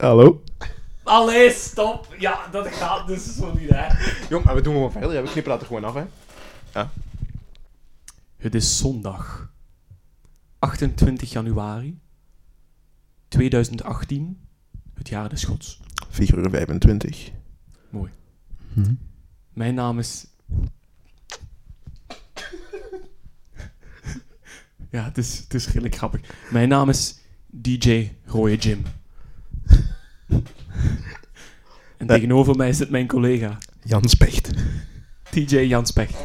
Hallo? Allee, stop! Ja, dat gaat dus zo niet, hè. Jong, maar we doen gewoon verder. Ja, we knippen dat er gewoon af, hè. Het is zondag. 28 januari 2018. Het jaar des gods. Figuur 25. Mooi. Mijn naam is... ja, het is, het is redelijk grappig. Mijn naam is DJ Rooie Jim. en tegenover mij zit mijn collega... Jan Specht. DJ Jans Pecht.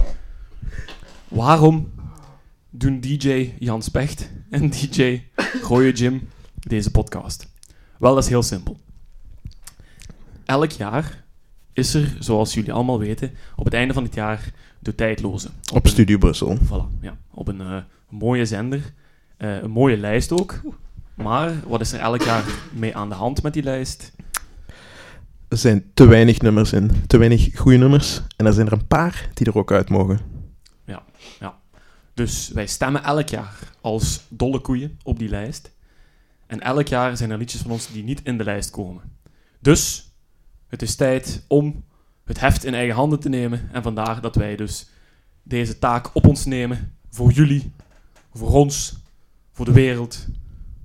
Waarom doen DJ Jans Pecht en DJ Gooie Jim deze podcast? Wel, dat is heel simpel. Elk jaar is er, zoals jullie allemaal weten, op het einde van het jaar de tijdloze. Op Studio Brussel. Voilà, ja. Op een eh, mooie zender. Eh, een mooie lijst ook. Maar wat is er elk jaar mee aan de hand met die lijst? Er zijn te weinig nummers in. Te weinig goede nummers. En er zijn er een paar die er ook uit mogen. Dus wij stemmen elk jaar als dolle koeien op die lijst. En elk jaar zijn er liedjes van ons die niet in de lijst komen. Dus het is tijd om het heft in eigen handen te nemen. En vandaar dat wij dus deze taak op ons nemen voor jullie, voor ons, voor de wereld,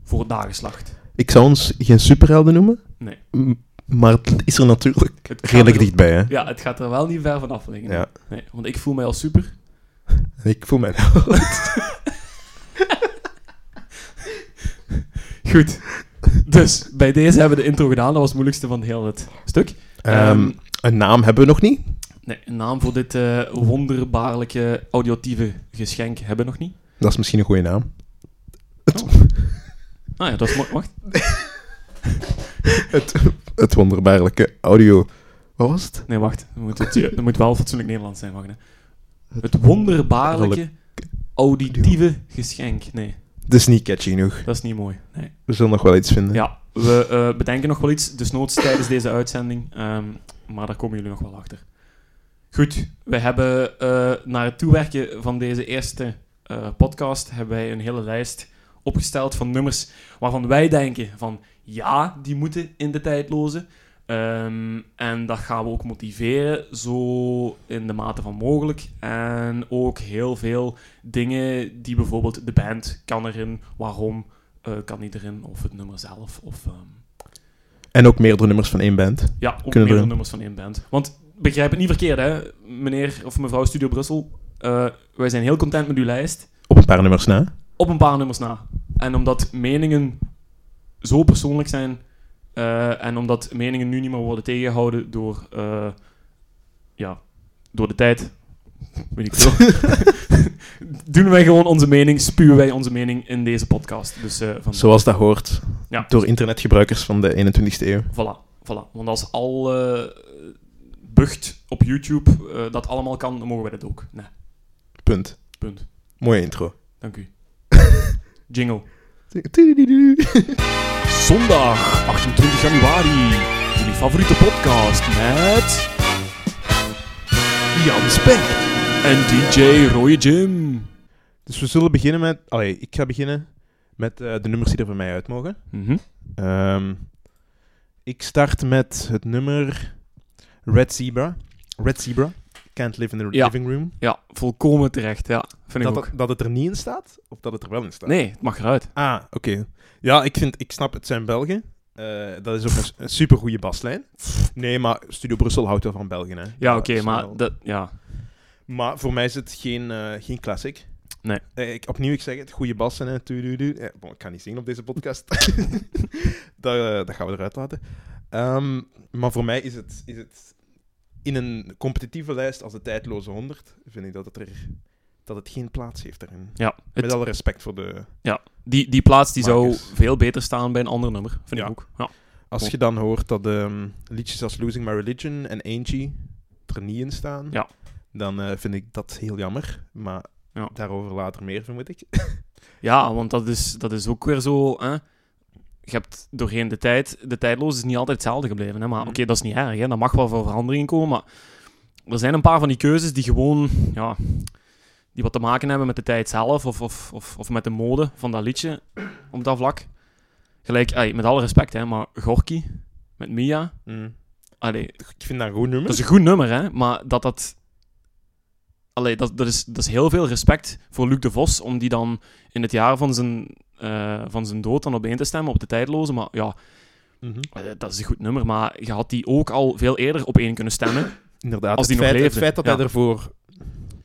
voor het nageslacht. Ik zou ons geen superhelden noemen. Nee. m- Maar het is er natuurlijk Het gaat redelijk er- dichtbij, hè. Ja, het gaat er wel niet ver vanaf liggen. Ja. Nee, want ik voel mij al super. Ik voel mij... Goed. Dus bij deze hebben we de intro gedaan. Dat was het moeilijkste van heel het stuk. Ehm, Ehm, een naam hebben we nog niet. Nee, een naam voor dit eh, wonderbaarlijke audiotieve geschenk hebben we nog niet. Dat is misschien een goede naam. Ah ja, dat is mo- wacht. Het wonderbaarlijke audio... Wat was het? Nee, wacht. Dan moet, het, dan moet wel fatsoenlijk Nederlands zijn, wacht. Hè. Het wonderbaarlijke auditieve geschenk. Nee, Het is niet catchy genoeg. dat is niet mooi. Nee. We zullen nog wel iets vinden. Ja, we eh, bedenken nog wel iets, desnoods tijdens deze uitzending. ehm, maar daar komen jullie nog wel achter. Goed, we hebben eh, naar het toewerken van deze eerste eh, podcast hebben wij een hele lijst opgesteld van nummers waarvan wij denken van ja, die moeten in de tijdloze. Ehm, en dat gaan we ook motiveren, zo in de mate van mogelijk. En ook heel veel dingen die bijvoorbeeld de band kan erin, waarom eh, kan die erin, of het nummer zelf. Of, ehm, En ook meerdere nummers van één band. ja, ook Kunnen meerdere erin. nummers van één band. Want begrijp het niet verkeerd, hè, meneer of mevrouw Studio Brussel. eh, wij zijn heel content met uw lijst Op een paar nummers na. op een paar nummers na. En omdat meningen zo persoonlijk zijn eh, en omdat meningen nu niet meer worden tegengehouden door, eh, ja, door de tijd, weet ik veel, doen wij gewoon onze mening, spuwen wij onze mening in deze podcast. Dus eh, van Zoals dat hoort. Ja. Door internetgebruikers van de 21ste eeuw. Voilà, voilà. Want als al eh, bucht op YouTube eh, dat allemaal kan, dan mogen wij dat ook. Nee, Punt. punt. Mooie intro. Dank u. Jingle. Zondag 28 januari. Jullie favoriete podcast met. Jan Spek. En DJ Roy Jim. Dus we zullen beginnen met... Allee, ik ga beginnen met eh, de nummers die er van mij uit mogen. Ehm, ik start met het nummer Red Zebra. Red Zebra. Can't live in the Ja. living room. Ja, volkomen terecht. Ja, vind Dat, ik ook. het- dat het er niet in staat, of dat het er wel in staat? Nee, het mag eruit. Ah, oké. Ja, ik, vind, ik snap, het zijn Belgen. Eh, dat is ook een, s- een supergoeie baslijn. Nee, maar Studio Brussel houdt wel van Belgen, hè. Ja, oké, dat is wel- maar dat. Ja. Maar voor mij is het geen, eh, geen classic. Nee. Eh, ik, opnieuw, ik zeg het, goede bassen en tududu. Eh, bon, ik kan niet zingen op deze podcast. dat, eh, dat gaan we eruit laten. Ehm, maar voor mij is het, is het in een competitieve lijst als de tijdloze 100, vind ik dat het, er, dat het geen plaats heeft daarin. ja Met het, alle respect voor de... die, die plaats die zou Makers. veel beter staan bij een ander nummer. Vind Ja. ik ook. Ja. Als je dan hoort dat ehm, liedjes als Losing My Religion en Angie er niet in staan, Ja. dan eh, vind ik dat heel jammer. Maar Ja. daarover later meer, vermoed ik. Ja, want dat is, dat is ook weer zo. Hè? Je hebt doorheen de tijd. De tijdloos is niet altijd hetzelfde gebleven. Hè? Maar Mhm. oké, dat is niet erg. Hè? Dat mag wel voor verandering komen. Maar er zijn een paar van die keuzes die gewoon. Ja, die wat te maken hebben met de tijd zelf. Of, of, of, of met de mode van dat liedje. Op dat vlak. Gelijk, ey, met alle respect, hè, maar Gorky. met Mia. Allee, Ik vind dat een goed nummer. dat is een goed nummer, hè? Maar dat dat. Allee, dat, dat, is, dat is heel veel respect voor Luc de Vos om die dan in het jaar van zijn, eh, van zijn dood dan op één te stemmen op de tijdloze. Maar ja, Mhm. eh, dat is een goed nummer. Maar je had die ook al veel eerder op één kunnen stemmen. Inderdaad. Als die het, nog feit, het leefde, feit dat ja. hij ervoor...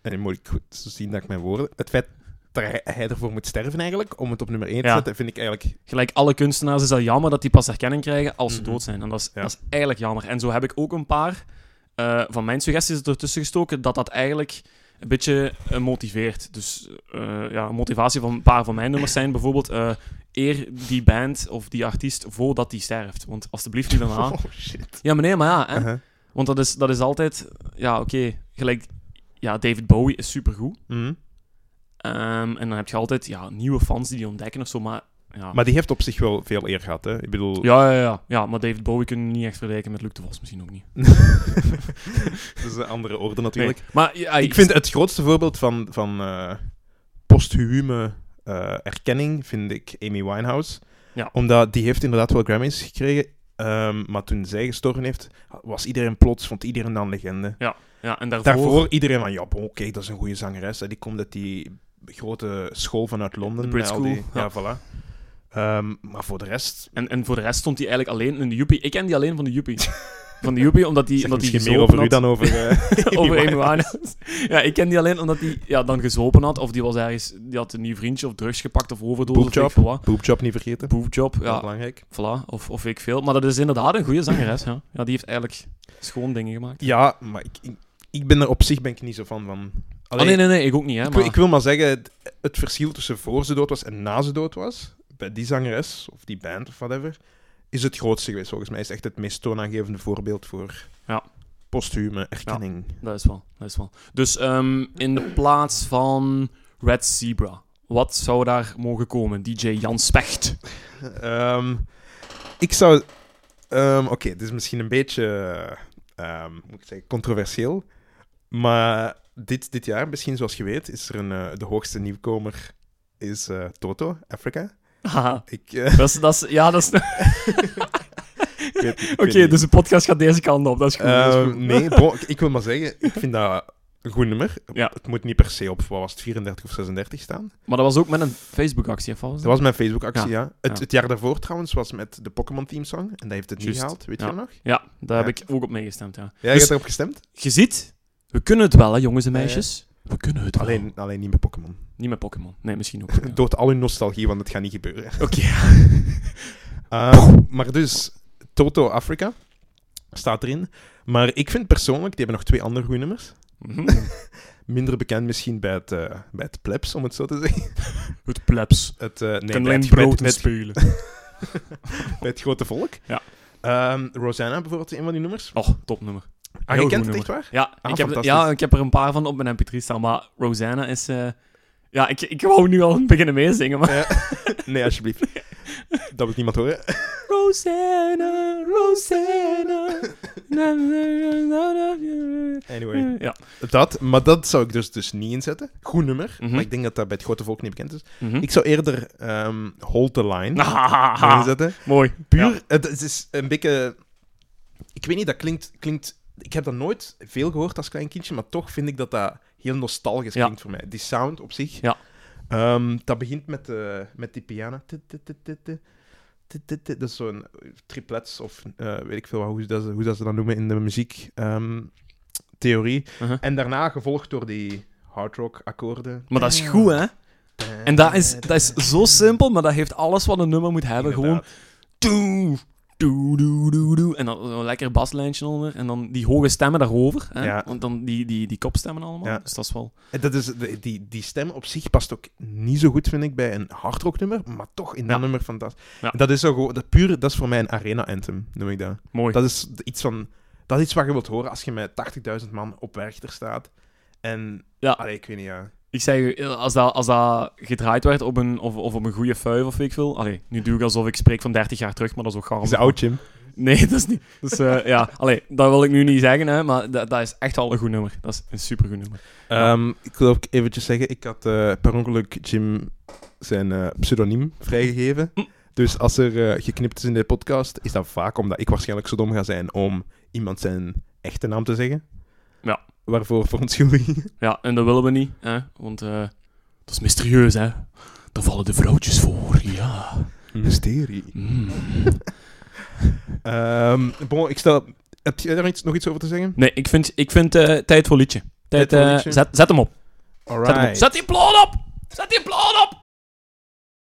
En nu moet ik goed zien dat ik mijn woorden... Het feit dat hij- hij ervoor moet sterven eigenlijk, om het op nummer 1 te Ja. zetten, vind ik eigenlijk... Gelijk alle kunstenaars is dat jammer dat die pas herkenning krijgen als ze Mhm. dood zijn. En dat is, Ja. dat is eigenlijk jammer. En zo heb ik ook een paar eh, van mijn suggesties ertussen gestoken dat dat eigenlijk een beetje eh, motiveert. Dus eh, ja, een motivatie van een paar van mijn nummers zijn bijvoorbeeld eh, eer die band of die artiest voordat die sterft. Want alstublieft niet daarna. Oh, shit. Ja, maar nee, maar ja. Hè? Uh-huh. Want dat is, dat is altijd... Ja, oké. Gelijk... Ja, David Bowie is supergoed. Mhm. Ehm, en dan heb je altijd ja, nieuwe fans die die ontdekken of zo, maar... Ja. Ah. Maar die heeft op zich wel veel eer gehad, hè? Ik bedoel... Ja, ja, ja. ja maar David Bowie kunnen we niet echt vergelijken met Luc de Vos, misschien ook niet. Dat is een andere orde natuurlijk. Nee. Maar ja, Ah, Ik vind het grootste voorbeeld van, van eh, posthume eh, erkenning, vind ik Amy Winehouse. Ja. Omdat die heeft inderdaad wel Grammys gekregen, ehm, maar toen zij gestorven heeft, was iedereen plots, vond iedereen dan legende. Ja, en daarvoor... Daarvoor iedereen van, ja, bon, oké, dat is een goede zangeres. hè. Die komt uit die grote school vanuit Londen. De Brit met al die- School, ja. voilà. Ehm, maar voor de rest... En, en voor de rest stond hij eigenlijk alleen in de Joepie. Ik ken die alleen van de Joepie. Van de Joepie, omdat die zeg omdat die misschien meer gezopen over u dan over... eh, had. Amy over Amy Winehouse. Winehouse. Ja, ik ken die alleen omdat die ja, dan gezopen had. Of die was ergens... Die had een nieuw vriendje of drugs gepakt of overdosis. Boobjob. Of weet ik veel wat. Boobjob niet vergeten. Boobjob, Ja. ja. Belangrijk. Voilà. Of, of weet ik veel. Maar dat is inderdaad een goede zangeres, ja. Ja, die heeft eigenlijk schoon dingen gemaakt. Ja, maar ik, ik, ik ben er op zich ben ik niet zo van. van. Oh, Alleen, nee, nee, nee. Ik ook niet, hè. ik, Maar... wil- ik wil maar zeggen, het, het verschil tussen voor ze dood was en na ze dood was, bij die zangeres of die band of whatever, is het grootste geweest. Volgens mij is echt het meest toonaangevende voorbeeld voor Ja. posthume erkenning. Dat is wel, dat is wel. Dus ehm, in de plaats van Red Zebra, wat zou daar mogen komen? DJ Jan Specht. Ehm, ik zou... ehm, Oké, dit is misschien een beetje ehm, hoe moet ik zeggen, controversieel, maar dit, dit jaar, misschien zoals je weet, is er een, eh, de hoogste nieuwkomer is eh, Toto, Africa. Haha, Ik... eh, dat is, dat is, ja, dat is... Oké, Ik weet- ik weet niet. dus de podcast gaat deze kant op, dat is goed. dat is Ehm, goed. nee, bon, ik- ik wil maar zeggen, ik vind dat een goed nummer. Ja. Het moet niet per se op, wat was het, 34 of 36 staan. Maar dat was ook met een Facebook-actie, of wat was Dat dat? was mijn Facebook-actie, ja. Het, ja. het jaar daarvoor trouwens was met de Pokémon Teamsong. En dat heeft het niet Juist, gehaald, weet ja. je nog? Ja, daar heb Ja. ik ook op meegestemd, ja. Jij Dus- hebt erop gestemd? Je ziet, we kunnen het wel, hè, jongens en Ja, ja. meisjes. Eh, We kunnen het wel. Alleen, alleen niet met Pokémon. Niet met Pokémon. Nee, misschien ook. niet, ja. Dood al hun nostalgie, want het gaat niet gebeuren. Oké. Ehm, maar dus, Toto Africa staat erin. Maar ik vind persoonlijk, die hebben nog twee andere goede nummers. Mhm. Minder bekend misschien bij het, eh, bij het plebs, om het zo te zeggen. Het plebs. Het, eh, nee, bij kan het- alleen bij brood het- met bij het spelen. bij het grote volk. Ja. Ehm, Rosanna bijvoorbeeld, is een van die nummers. Oh, topnummer. Ah, heel je goed kent het nummer. echt waar? Ja, Ah, ik heb, fantastisch. ja, ik heb er een paar van op mijn mp3 staan, maar Rosanna is... eh, ja, ik, ik wou nu al beginnen meezingen, maar... Nee, alsjeblieft. Dat wil niemand horen. Rosanna, Rosanna... na, na, na, na, na. Anyway. Ja. Dat, maar dat zou ik dus, dus niet inzetten. Goed nummer, Mhm. maar ik denk dat dat bij het grote volk niet bekend is. Mhm. Nou, Ik zou eerder ehm Hold the Line Hahaha. inzetten. Mooi. Puur, Ja. het, het is een beetje... Ik weet niet, dat klinkt, klinkt... Ik heb dat nooit veel gehoord als klein kindje, maar toch vind ik dat dat heel nostalgisch Ja. klinkt voor mij. Die sound op zich. Ja. Ehm, dat begint met, eh, met die piano. Tut, tut, tut, tut, tut. Tut, tut, tut. Dat is zo'n triplets of eh, weet ik veel wat, hoe, ze dat, hoe dat ze dat noemen in de muziektheorie. theorie Uh-huh. En daarna gevolgd door die hard rock akkoorden. Maar dat is goed, hè? En dat is, dat is zo simpel, maar dat heeft alles wat een nummer moet hebben. Gewoon... Inderdaad. Doe, doe, doe, doe, doe. En dan een lekker baslijntje onder. En dan die hoge stemmen daarover. Hè? Ja. Want dan die, die, die kopstemmen allemaal. Ja. Dus dat is wel... En Dat is, de- die, die stem op zich past ook niet zo goed, vind ik, bij een hardrock nummer, maar toch in dat Ja. nummer fantastisch. Ja. Dat is zo gewoon, dat puur, dat is voor mij een arena anthem, noem ik dat. Mooi. Dat is iets van, dat is iets wat je wilt horen als je met 80.000 man op Werchter staat. En, Ja. allee, ik weet niet, ja. Ik zeg, u, als dat, als dat gedraaid werd op een, of, of op een goede fuif of weet ik veel. Allee, nu doe ik alsof ik spreek van 30 jaar terug, maar dat is ook gaar. Is dat oud, Jim? Nee, dat is niet. Dus eh, ja, allee, dat wil ik nu niet zeggen, hè, maar dat, dat is echt al een goed nummer. Dat is een supergoed nummer. Ehm, ik wil ook eventjes zeggen, ik had eh, per ongeluk Jim zijn eh, pseudoniem vrijgegeven. Dus als er eh, geknipt is in de podcast, is dat vaak omdat ik waarschijnlijk zo dom ga zijn om iemand zijn echte naam te zeggen. Ja. Waarvoor verontschuldiging. Ja, en dat willen we niet, hè? want eh dat is mysterieus, hè. Daar vallen de vrouwtjes voor, ja. Mysterie. Mm. Ehm, bon, ik stel... Heb jij daar iets, nog iets over te zeggen? Nee, ik vind, ik vind eh, tijd voor liedje. Tijd, Tijd voor eh, liedje. zet, zet hem op. Zet, hem op. Alright. zet die plaat op! Zet die plaat op!